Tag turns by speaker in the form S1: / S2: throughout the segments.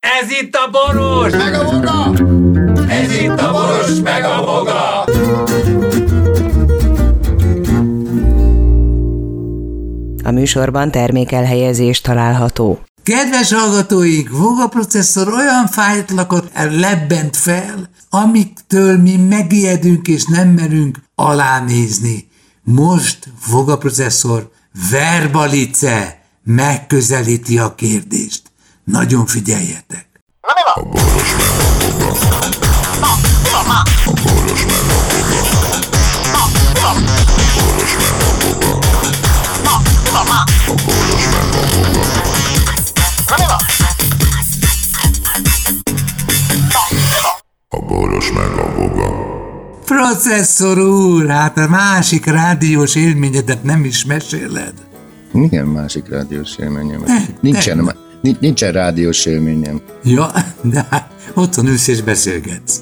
S1: Ez itt a boros!
S2: Meg a boga!
S1: Ez itt a boros, meg a boga!
S3: A műsorban termékelhelyezés található.
S4: Kedves hallgatóink, Voga processzor olyan fájtlakot lebbent fel, amiktől mi megijedünk és nem merünk alánézni. Most Voga processzor verbalice megközelíti a kérdést. Nagyon figyeljetek!
S5: A boros meg a boga.
S4: Processzor úr, hát a másik rádiós élményedet nem is meséled.
S2: Milyen másik rádiós élményem?
S4: Te-
S2: Nincsen,
S4: te-
S2: ma- ni- nincsen rádiós élményem.
S4: Ja, de hát otthon ülsz és beszélgetsz.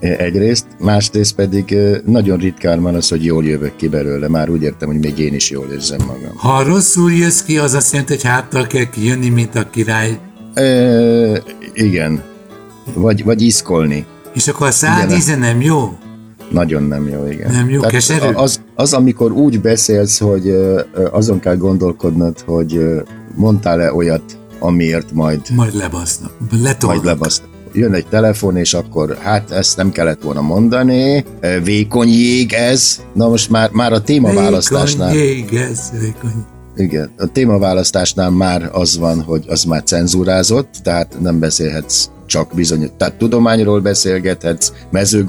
S2: E- Egyrészt, másrészt pedig ö, nagyon ritkán van az, hogy jól jövök ki belőle. Már úgy értem, hogy még én is jól érzem magam.
S4: Ha rosszul jössz ki, az azt jelenti, hogy háttal kell kijönni, mint a király.
S2: E- igen. Vagy, vagy iszkolni.
S4: És akkor a szád
S2: Igen.
S4: íze nem jó?
S2: Nagyon nem jó, igen.
S4: Nem jó, keserű?
S2: Az, az, amikor úgy beszélsz, hogy ö, ö, azon kell gondolkodnod, hogy ö, mondtál-e olyat, amiért majd
S4: Majd lebasznak.
S2: majd
S4: Letolnak.
S2: lebaszt. Jön egy telefon, és akkor hát ezt nem kellett volna mondani, Ö, vékony jég ez. Na most már, már a témaválasztásnál,
S4: Vékony jég, ez vékony.
S2: igen, a témaválasztásnál már az van, hogy az már cenzurázott, tehát nem beszélhetsz csak bizony, tehát tudományról beszélgethetsz,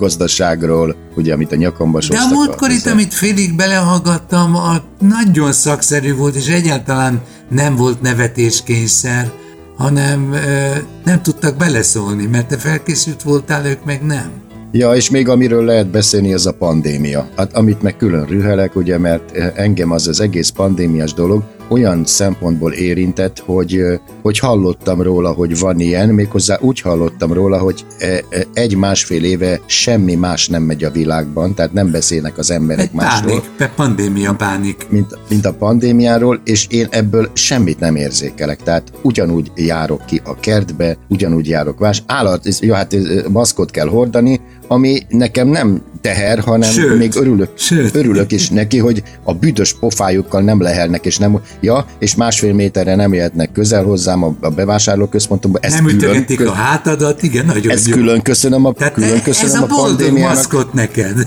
S2: mezőgazdaságról, ugye, amit a nyakamba
S4: De
S2: sostak.
S4: a múltkor itt, amit félig belehallgattam, a nagyon szakszerű volt, és egyáltalán nem volt nevetéskényszer, hanem ö, nem tudtak beleszólni, mert te felkészült voltál, ők meg nem.
S2: Ja, és még amiről lehet beszélni, az a pandémia. Hát amit meg külön rühelek, ugye, mert eh, engem az az egész pandémiás dolog olyan szempontból érintett, hogy, eh, hogy hallottam róla, hogy van ilyen, méghozzá úgy hallottam róla, hogy eh, eh, egy-másfél éve semmi más nem megy a világban, tehát nem beszélnek az
S4: Egy
S2: emberek másról,
S4: pánik, pe- pandémia pánik.
S2: mint, mint a pandémiáról, és én ebből semmit nem érzékelek. Tehát ugyanúgy járok ki a kertbe, ugyanúgy járok vás. Állat, ez- jó, hát ez, maszkot kell hordani, ami nekem nem teher, hanem
S4: Sőt.
S2: még örülök,
S4: Sőt.
S2: örülök is neki, hogy a büdös pofájukkal nem lehelnek, és nem, ja, és másfél méterre nem jöhetnek közel hozzám a, a bevásárlóközpontomba. Ezt
S4: nem
S2: külön,
S4: ütögetik a hátadat, igen, nagyon
S2: ezt
S4: jó.
S2: külön köszönöm a,
S4: Tehát
S2: külön
S4: e-
S2: köszönöm
S4: ez a, boldog
S2: pandémiának.
S4: maszkot neked.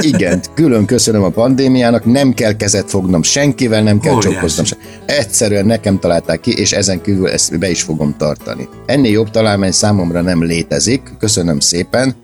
S2: Igen, külön köszönöm a pandémiának, nem kell kezet fognom senkivel, nem kell
S4: Óriási.
S2: csókoznom se. Egyszerűen nekem találták ki, és ezen kívül ezt be is fogom tartani. Ennél jobb találmány számomra nem létezik, köszönöm szépen.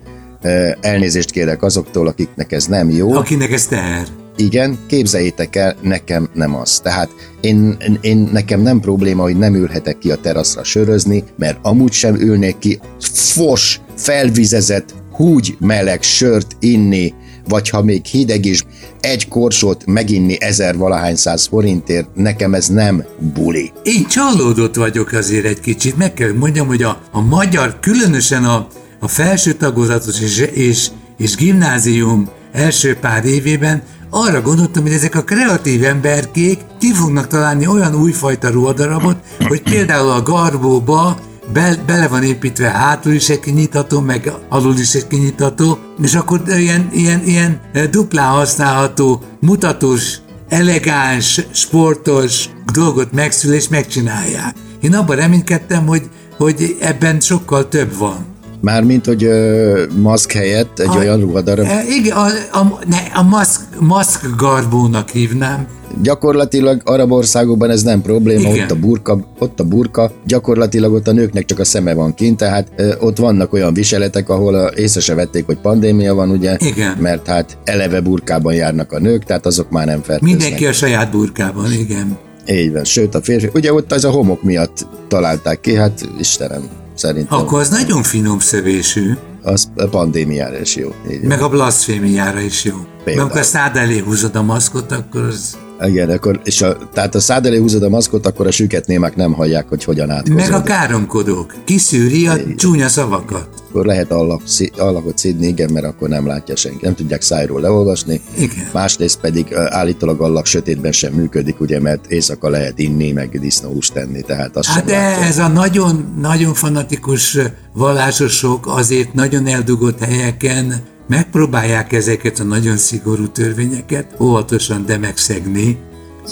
S2: Eh, Elnézést kérek azoktól, akiknek ez nem jó.
S4: Akinek ez teher.
S2: Igen, képzeljétek el, nekem nem az. Tehát én, én- én nekem nem probléma, hogy nem ülhetek ki a teraszra sörözni, mert amúgy sem ülnék ki fos, felvizezett, húgy meleg sört inni, vagy ha még hideg is, egy korsót meginni ezer valahány száz forintért, nekem ez nem buli.
S4: Én csalódott vagyok azért egy kicsit, meg kell mondjam, hogy a, a magyar, különösen a, a felső tagozatos és, és, és gimnázium első pár évében arra gondoltam, hogy ezek a kreatív emberkék ki fognak találni olyan újfajta ruhadarabot, hogy például a garbóba be, bele van építve hátul is egy kinyitható, meg alul is egy kinyitható, és akkor ilyen, ilyen, ilyen eh, duplán használható, mutatós elegáns, sportos dolgot megszül és megcsinálják. Én abban reménykedtem, hogy, hogy ebben sokkal több van.
S2: Mármint, hogy ö, maszk helyett egy
S4: A-
S2: olyan ruhadarab,
S4: E, igen, a, a, ne, a maszk, maszk garbónak hívnám.
S2: gyakorlatilag arab országokban ez nem probléma,
S4: Igen.
S2: ott a, burka, ott a burka, gyakorlatilag ott a nőknek csak a szeme van kint, tehát ö, ott vannak olyan viseletek, ahol ö, észre se vették, hogy pandémia van, ugye?
S4: Igen.
S2: Mert hát eleve burkában járnak a nők, tehát azok már nem fertőznek.
S4: Mindenki a saját burkában, igen.
S2: Így van, sőt a férfi, ugye ott az a homok miatt találták ki, hát Istenem, szerintem
S4: Akkor az nagyon finom szövésű,
S2: az a pandémiára is jó. Így van.
S4: meg a blaszfémiára is jó. Mert
S2: Például.
S4: amikor a szád elé húzod a maszkot, akkor az
S2: Igen, akkor, és a, tehát a szád elé húzod a maszkot, akkor a süket némák nem hallják, hogy hogyan
S4: Meg a
S2: átkozod.
S4: káromkodók. Kiszűri a csúnya szavakat.
S2: Akkor lehet allak, szí- allakot szídni, igen, mert akkor nem látja senki, nem tudják szájról leolvasni.
S4: Igen.
S2: Másrészt pedig ö, állítólag allak sötétben sem működik, ugye, mert éjszaka lehet inni, meg disznóhúst tenni, tehát azt
S4: Hát
S2: sem
S4: de
S2: látja.
S4: ez a nagyon-nagyon fanatikus vallásosok azért nagyon eldugott helyeken megpróbálják ezeket a nagyon szigorú törvényeket óvatosan, de megszegni.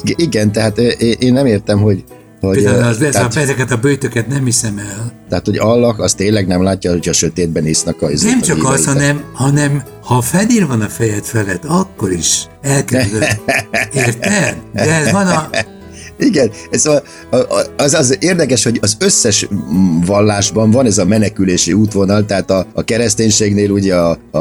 S2: I- Igen, tehát ö, én én nem értem, hogy hogy,
S4: Például
S2: ö,
S4: az, ez
S2: tehát,
S4: a, ezeket a bőtöket nem hiszem el.
S2: tehát, hogy allak, az tényleg nem látja, hogyha sötétben isznak a
S4: Nem csak az, hanem, hanem ha fedél van a fejed felett, akkor is elkezdődik. Érted? De ez van a,
S2: Igen, ez a, a, a- az, az érdekes, hogy az összes mm, vallásban van ez a menekülési útvonal, tehát a, a kereszténységnél ugye a, a,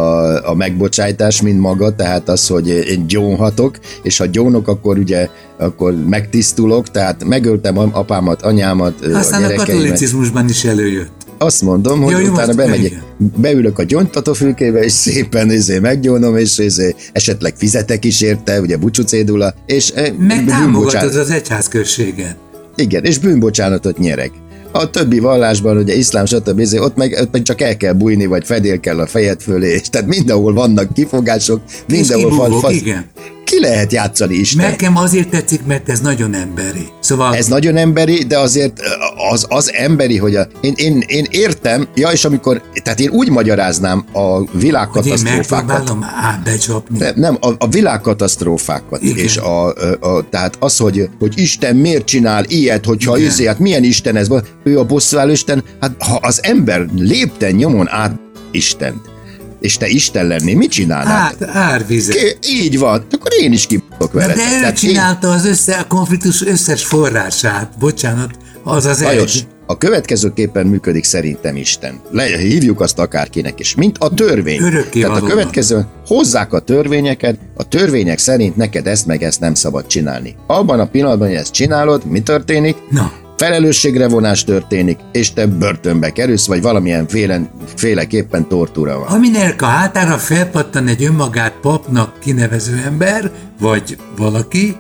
S2: a megbocsájtás, mint maga, tehát az, hogy én gyónhatok, és ha gyónok, akkor ugye akkor megtisztulok, tehát megöltem am- apámat, anyámat, ö,
S4: aztán
S2: a
S4: a
S2: gyerekeimet.
S4: katolicizmusban is előjött.
S2: Azt mondom, hogy
S4: Jaj, jó,
S2: utána
S4: most-
S2: bemegyek,
S4: ja,
S2: beülök a gyontatofülkébe, és szépen izé, meggyónom, és izé, esetleg fizetek is érte, ugye bucsucédula, és eh,
S4: Meg
S2: bűnbocsánat-
S4: támogatod az egyházközséget.
S2: igen, és bűnbocsánatot nyerek. A többi vallásban, ugye iszlám, stb. izé, Ott meg, ott meg csak el kell bújni, vagy fedél kell a fejed fölé, és tehát mindenhol vannak kifogások, mindenhol van
S4: kibúvok,
S2: fasz.
S4: igen.
S2: Ki lehet játszani Isten?
S4: Nekem azért tetszik, mert ez nagyon emberi. Szóval
S2: Ez
S4: ez
S2: nagyon emberi, de azért az, az emberi, hogy a, én, én, én értem, ja, és amikor, tehát én úgy magyaráznám a
S4: hogy én
S2: világkatasztrófákat,
S4: megpróbálom ám becsapni.
S2: Nem, nem a, a világkatasztrófákat,
S4: Igen.
S2: és a, a, a, tehát az, hogy, hogy Isten miért csinál ilyet, hogyha
S4: Igen.
S2: izé, hát milyen Isten ez, ő a bosszúálló Isten, hát ha az ember lépten nyomon át Istent, és te Isten lenni, mit csinálnál?
S4: Ár, árvizet.
S2: Ki- Így van, akkor én is kibok
S4: Hát. Na,
S2: veled.
S4: de ő
S2: Tehát én-
S4: csinálta az össze, a konfliktus összes forrását. Bocsánat, az az
S2: Lajos,
S4: egy.
S2: a következőképpen működik szerintem Isten. Le, hívjuk azt akárkinek is, mint a törvény.
S4: Örökké
S2: Tehát a
S4: valóban.
S2: következő, hozzák a törvényeket, a törvények szerint neked ezt meg ezt nem szabad csinálni. Abban a pillanatban, hogy ezt csinálod, mi történik?
S4: Na,
S2: Felelősségre vonás történik, és te börtönbe kerülsz, vagy valamilyen félen, féleképpen tortúra van.
S4: aminek a hátára felpattan egy önmagát papnak kinevező ember, vagy valaki,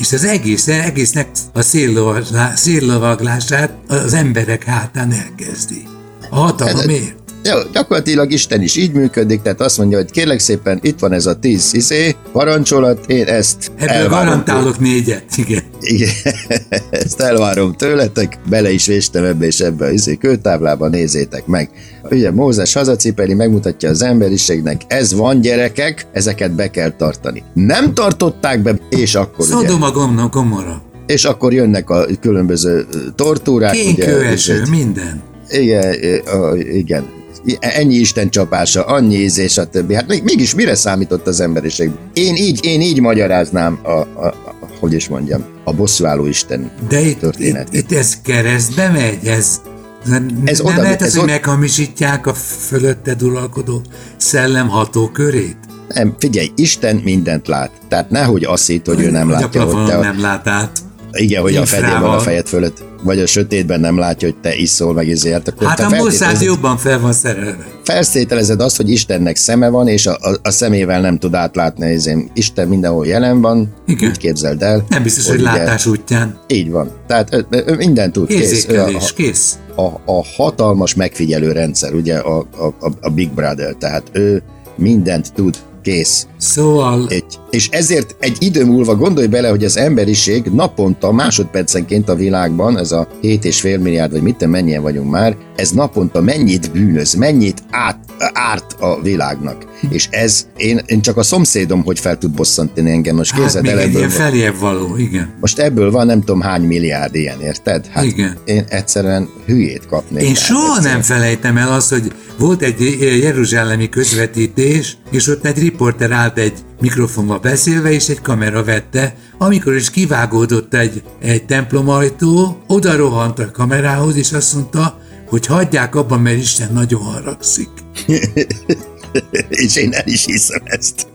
S4: és az egész, egésznek a széllovaglá- széllovaglását az emberek hátán elkezdi. A hatalomért.
S2: Jó, gyakorlatilag Isten is így működik, tehát azt mondja, hogy kérlek szépen, itt van ez a tíz izé, parancsolat, én ezt
S4: Ebből
S2: elvárom
S4: garantálok négyet, igen.
S2: Igen, ezt elvárom tőletek, bele is véstem ebbe és ebbe a izé kőtáblába, nézzétek meg. Ugye Mózes hazacipeli, megmutatja az emberiségnek, ez van gyerekek, ezeket be kell tartani. Nem tartották be, és akkor ugye,
S4: Szodoma gomna gomora.
S2: és akkor jönnek a különböző ö, tortúrák. Hát ugye,
S4: Kénykőeső,
S2: izét.
S4: minden.
S2: Igen, ö, ö, igen. I- Ennyi Isten csapása, annyi ízés, a többi. Hát még- mégis mire számított az emberiség? Én így, én így magyaráznám a, a, a hogy is mondjam, a bosszúálló Isten
S4: De itt,
S2: történet.
S4: itt, itt ez keresztbe megy, ez nem,
S2: Ez
S4: ez nem
S2: oda-
S4: lehet ez,
S2: ez
S4: hogy
S2: oda-
S4: meghamisítják a fölötted uralkodó szellem hatókörét?
S2: Nem, figyelj, Isten mindent lát. Tehát nehogy azt hitt, hogy ő nem
S4: Hogy
S2: látja,
S4: a
S2: hogy
S4: plafonon
S2: te...
S4: nem lát át.
S2: Igen, hogy a fedél van a
S4: infrával.
S2: fejed fölött, vagy a sötétben nem látja, hogy te iszol, meg ezért. Akkor
S4: Hát
S2: te
S4: a muszáj
S2: feltételezed-
S4: jobban fel van szerelve.
S2: feltételezed azt, hogy Istennek szeme van, és a, a, a szemével nem tud átlátni. Ezért Isten mindenhol jelen van,
S4: Igen.
S2: így képzeld el.
S4: Nem biztos, hogy,
S2: ugye-
S4: látás útján.
S2: Így van. Tehát ő, ő mindent tud. Kész. Ő a,
S4: Érzékelés, kész.
S2: a, a hatalmas megfigyelő rendszer, ugye a, a, a- a Big Brother, tehát ő mindent tud, kész.
S4: Szóval
S2: Egy. És ezért egy idő múlva gondolj bele, hogy az emberiség naponta, másodpercenként a világban, ez a 7,5 milliárd, vagy mit tudom, mennyien vagyunk már, ez naponta mennyit bűnöz, mennyit át, árt a világnak. És ez, én, én csak a szomszédom, hogy fel tud bosszantani engem, most
S4: hát
S2: képzeld
S4: még
S2: el
S4: egy
S2: ebből.
S4: ilyen
S2: Fel...
S4: feljebb való, igen.
S2: Most ebből van nem tudom hány milliárd ilyen, érted? Hát
S4: Igen.
S2: én egyszerűen hülyét kapnék.
S4: Én
S2: rá,
S4: soha
S2: egyszerűen.
S4: nem felejtem el azt, hogy volt egy eh, jeruzsálemi közvetítés, és ott egy riporter állt egy mikrofonba beszélve, és egy kamera vette, amikor is kivágódott egy, egy templomajtó, oda rohant a kamerához, és azt mondta, hogy hagyják abban, mert Isten nagyon haragszik.
S2: És én el is hiszem ezt.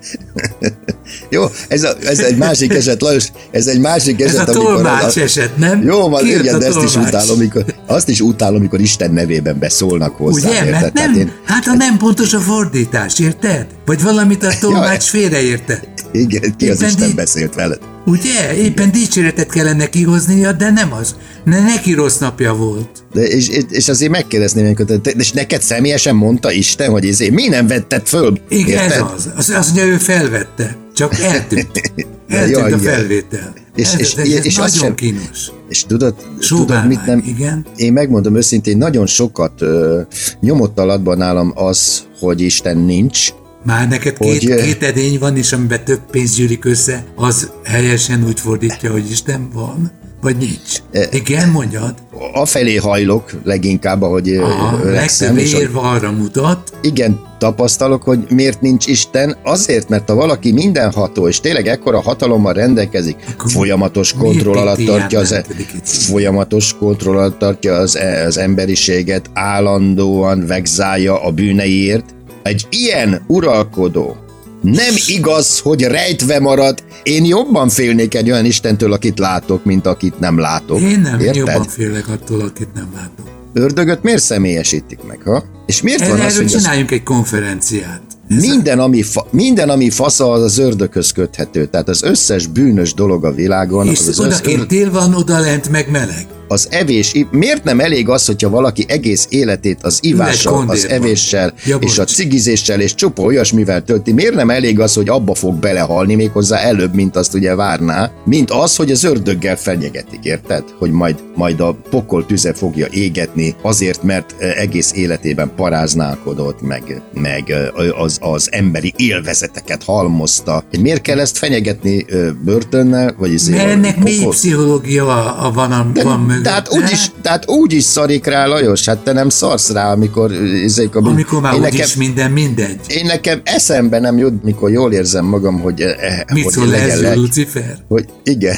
S2: Jó, ez, a, ez egy másik eset, Lajos, ez egy másik
S4: Ez
S2: eset,
S4: a tolmács
S2: amikor...
S4: eset, nem?
S2: Jó, van,
S4: Kijött
S2: igen,
S4: a
S2: de ezt is
S4: tolmács.
S2: utálom, amikor, azt is utálom, amikor Isten nevében beszólnak hozzá.
S4: Ugye, mert nem,
S2: Tehát én,
S4: hát a nem pontos a fordítás, érted? Vagy valamit a tolmács félreértett.
S2: igen, ki az
S4: Éppen
S2: Isten
S4: így-
S2: beszélt veled?
S4: Ugye? Éppen dicséretet kellene kihoznia, de nem az. Ne, neki rossz napja volt.
S2: De és, és- és azért megkérdezném, amikor te, te- és neked személyesen mondta Isten, hogy ezért mi nem vetted föl?
S4: Igen, ez
S2: Érted?
S4: az. Azt, azt mondja, ő felvette. Csak eltűnt. Eltűnt
S2: Jaj,
S4: a
S2: igen.
S4: felvétel.
S2: És-
S4: És, ez,
S2: és-
S4: ez, ez
S2: és azt
S4: nagyon
S2: sem-
S4: kínos.
S2: És tudod, tudod
S4: Sóbálvány,
S2: mit nem...
S4: igen.
S2: Én megmondom őszintén, nagyon sokat ö, nyomott alatban nálam az, hogy Isten nincs,
S4: Már neked
S2: Hogy,
S4: két,
S2: eh,
S4: két edény van, és amiben több pénz gyűlik össze, az helyesen úgy fordítja, hogy Isten van, vagy nincs.
S2: E-
S4: Igen, mondjad.
S2: afelé hajlok leginkább, ahogy ö,
S4: A legtöbb
S2: öregszem, és hogy
S4: érve arra mutat,
S2: igen, tapasztalok, hogy miért nincs Isten, azért, mert ha valaki mindenható, és tényleg ekkora hatalommal rendelkezik,
S4: Akkor
S2: folyamatos
S4: miért
S2: kontroll alatt
S4: Biblián
S2: tartja az, e-
S4: nem tudik itt?
S2: folyamatos kontroll alatt tartja az, e- az emberiséget, állandóan vegzálja a bűneiért. Egy ilyen uralkodó nem igaz, hogy rejtve marad. Én jobban félnék egy olyan Istentől, akit látok, mint akit nem látok.
S4: én nem
S2: Érted?
S4: jobban félek attól, akit nem látom.
S2: Ördögöt miért személyesítik meg, ha? És miért
S4: Erről
S2: van az, hogy az
S4: csináljunk egy konferenciát.
S2: minden, ami fa, minden, ami fasza, az az ördökhöz köthető. Tehát az összes bűnös dolog a világon, az,
S4: És
S2: az, össz,
S4: odakint tél van, oda lent meg meleg.
S2: az evés. í- Miért nem elég az, hogyha valaki egész életét az ivással, az
S4: kondérban.
S2: evéssel
S4: Ja,
S2: és a
S4: bocs.
S2: cigizéssel és csupa olyasmivel tölti? Miért nem elég az, hogy abba fog belehalni méghozzá előbb, mint azt ugye várná, mint az, hogy az ördöggel fenyegetik, érted? Hogy majd, majd a pokol tüze fogja égetni azért, mert eh, egész életében paráználkodott, meg, meg eh, az, az emberi élvezeteket halmozta. Miért kell ezt fenyegetni eh, börtönnel, vagy izé-
S4: Mert ennek mély
S2: pokol- hát
S4: pszichologia a, a van, a, van mögött.
S2: tehát úgyis, tehát úgyis szarik rá, Lajos, hát te nem szarsz rá, amikor izék a bűn.
S4: Amikor már
S2: én,
S4: úgyis
S2: nekem,
S4: minden mindegy.
S2: én nekem eszembe nem jut, mikor jól érzem magam, hogy, eh, eh,
S4: Mit
S2: hogy
S4: szól ez,
S2: legelek,
S4: Lucifer?
S2: hogy igen,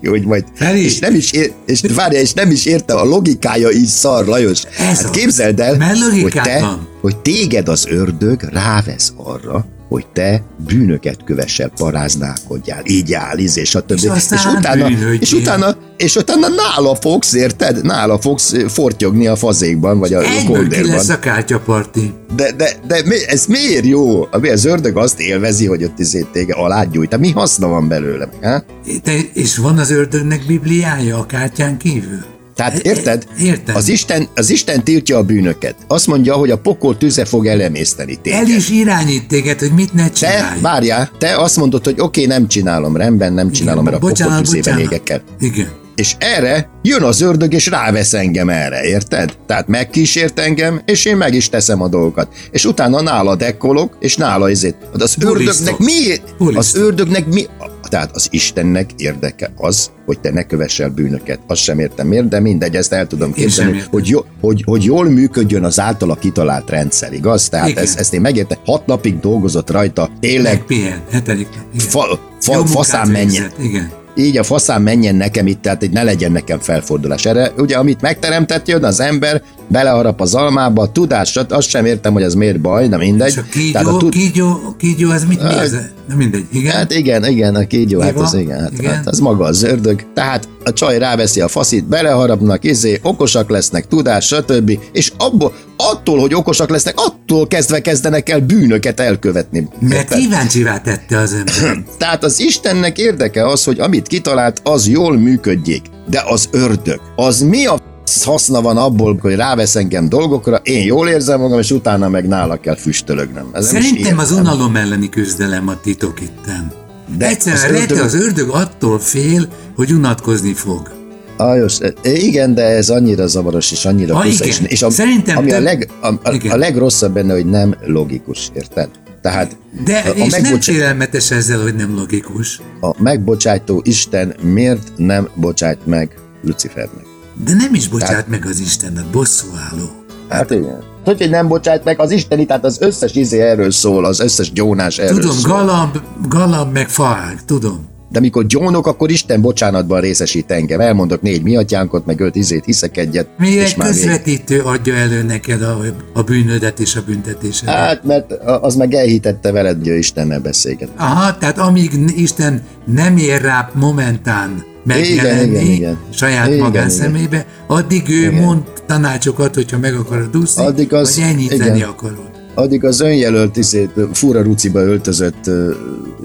S2: hogy majd,
S4: Feri!
S2: és nem is, ér, és várja, és nem is értem, a logikája így szar, Lajos.
S4: Ez
S2: hát
S4: az.
S2: képzeld el,
S4: Mert
S2: hogy
S4: logikát
S2: te,
S4: van.
S2: hogy téged az ördög rávesz arra, hogy te bűnöket kövesel, paráználkodjál, így áll, íz, és a többi.
S4: És aztán
S2: utána,
S4: bűnhődjél.
S2: és utána, és utána nála fogsz, érted? Nála fogsz ö, fortyogni a fazékban, vagy a
S4: Egyből ki
S2: kondérban.
S4: lesz a kártyaparti.
S2: De, de, de mi, ez miért jó? Ami az ördög azt élvezi, hogy ott izét téged alágyújt. Hát Mi haszna van belőle? hát? Ha?
S4: De, és van az ördögnek bibliája a kártyán kívül?
S2: Tehát érted?
S4: Értem.
S2: Az Isten, az Isten tiltja a bűnöket. Azt mondja, hogy a pokol tüze fog elemészteni téged.
S4: El is irányít téged, hogy mit ne
S2: Te,
S4: csinálj.
S2: várjál, te azt mondod, hogy oké, nem csinálom, rendben, nem csinálom, mert a pokol tüzében égek el.
S4: Igen.
S2: És erre jön az ördög, és rávesz engem erre, érted? Tehát megkísért engem, és én meg is teszem a dolgokat. És utána nála dekkolok, és nála ezért. Hát Az ördögnek
S4: Bulisztok.
S2: mi? Az
S4: Bulisztok.
S2: ördögnek mi? Tehát az Istennek érdeke az, hogy te ne kövessel bűnöket. Azt sem értem miért, de mindegy, ezt el tudom
S4: sem
S2: képzelni,
S4: értem.
S2: hogy, jó, hogy, hogy jól működjön az általa kitalált rendszer, igaz? Tehát
S4: Igen.
S2: ezt, ezt én megértem. Hat napig dolgozott rajta, tényleg
S4: Megpihen. Hetedik. nap, igen.
S2: fa,
S4: Jó
S2: fa,
S4: munkát
S2: faszán menjen,
S4: végzett, Igen.
S2: így a faszán menjen nekem itt, tehát így ne legyen nekem felfordulás. Erre ugye, amit megteremtett, jön az ember, beleharap az almába, a tudásat, azt sem értem, hogy ez miért baj, na mindegy.
S4: És a
S2: a
S4: kígyó,
S2: tud-
S4: kígyó, kígyó, ez mit mi ez? Na mindegy, igen.
S2: Hát igen, igen, a kígyó, hát
S4: Éva,
S2: az igen, hát,
S4: igen.
S2: hát az maga az ördög. Tehát a csaj ráveszi a faszit, beleharapnak, izé, okosak lesznek, tudás, stb. És abból, attól, hogy okosak lesznek, attól kezdve kezdenek el bűnöket elkövetni.
S4: Mert
S2: Érted?
S4: kíváncsivá tette az ember.
S2: Tehát az Istennek érdeke az, hogy amit kitalált, az jól működjék. De az ördög, az mi a f- haszna van abból, hogy rávesz engem dolgokra, én jól érzem magam, és utána meg nála kell füstölögnöm. Ez nem is
S4: Szerintem az
S2: értem.
S4: unalom elleni küzdelem a titok itten.
S2: De
S4: De
S2: az
S4: Egyszerűen az ördög...
S2: ördög-
S4: az ördög attól fél, hogy unatkozni fog.
S2: Ajos, e, igen, de ez annyira zavaros, és annyira
S4: Ha,
S2: kusza, és,
S4: igen.
S2: és a,
S4: Szerintem
S2: ami a,
S4: több-
S2: leg, a, a,
S4: Igen.
S2: a legrosszabb benne, hogy nem logikus, érted? Tehát
S4: De
S2: a,
S4: és nem
S2: megbocsa-
S4: félelmetes ezzel, hogy nem logikus.
S2: a megbocsájtó Isten miért nem bocsájt meg Lucifernek?
S4: De nem is bocsát meg az Istenet, bosszúálló.
S2: Hát igen. Hogy, hogy nem bocsát meg, az Isteni, tehát az összes izé erről szól, az összes gyónás erről
S4: Tudom,
S2: szól.
S4: galamb, galamb meg faág, tudom.
S2: De mikor gyónok, akkor Isten bocsánatban részesít engem. Elmondok négy miatyánkot, meg öt izét, hiszek egyet,
S4: Mi
S2: és
S4: egy
S2: már vége.
S4: közvetítő adja elő neked a, a bűnödet és a büntetésedet.
S2: Hát, mert a- az meg elhitette veled, hogy ő Istennel beszélget.
S4: Aha, tehát amíg n- Isten nem ér rá momentán megjelenni
S2: Igen, igen, igen.
S4: saját
S2: Igen,
S4: magánszemébe, addig ő mond tanácsokat, hogyha meg akarod úszni,
S2: Addig az-
S4: vagy enyhíteni
S2: igen.
S4: akarod.
S2: Addig az önjelölt izét, fura ruciba öltözött ö,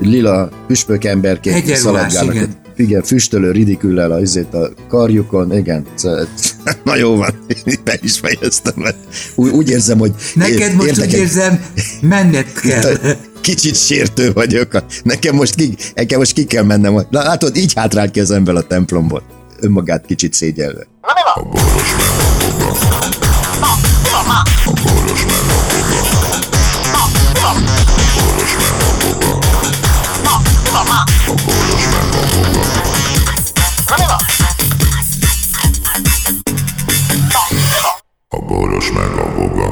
S2: lila püspök emberként
S4: Egyenruhás,
S2: szaladgálnak.
S4: igen.
S2: ott. Igen, füstölő ridiküllel a, izét a karjukon, igen. Szóval- Na jó van, be is fejeztem. mert Úgy, úgy érzem, hogy
S4: Neked most
S2: érdekel-
S4: úgy érzem, menned kell.
S2: Kicsit sértő vagyok. Nekem most ki, nekem most ki kell mennem. Na, Látod, így hátrált ki az ember a templomból. Önmagát kicsit szégyelve.
S5: A boros meg a boga.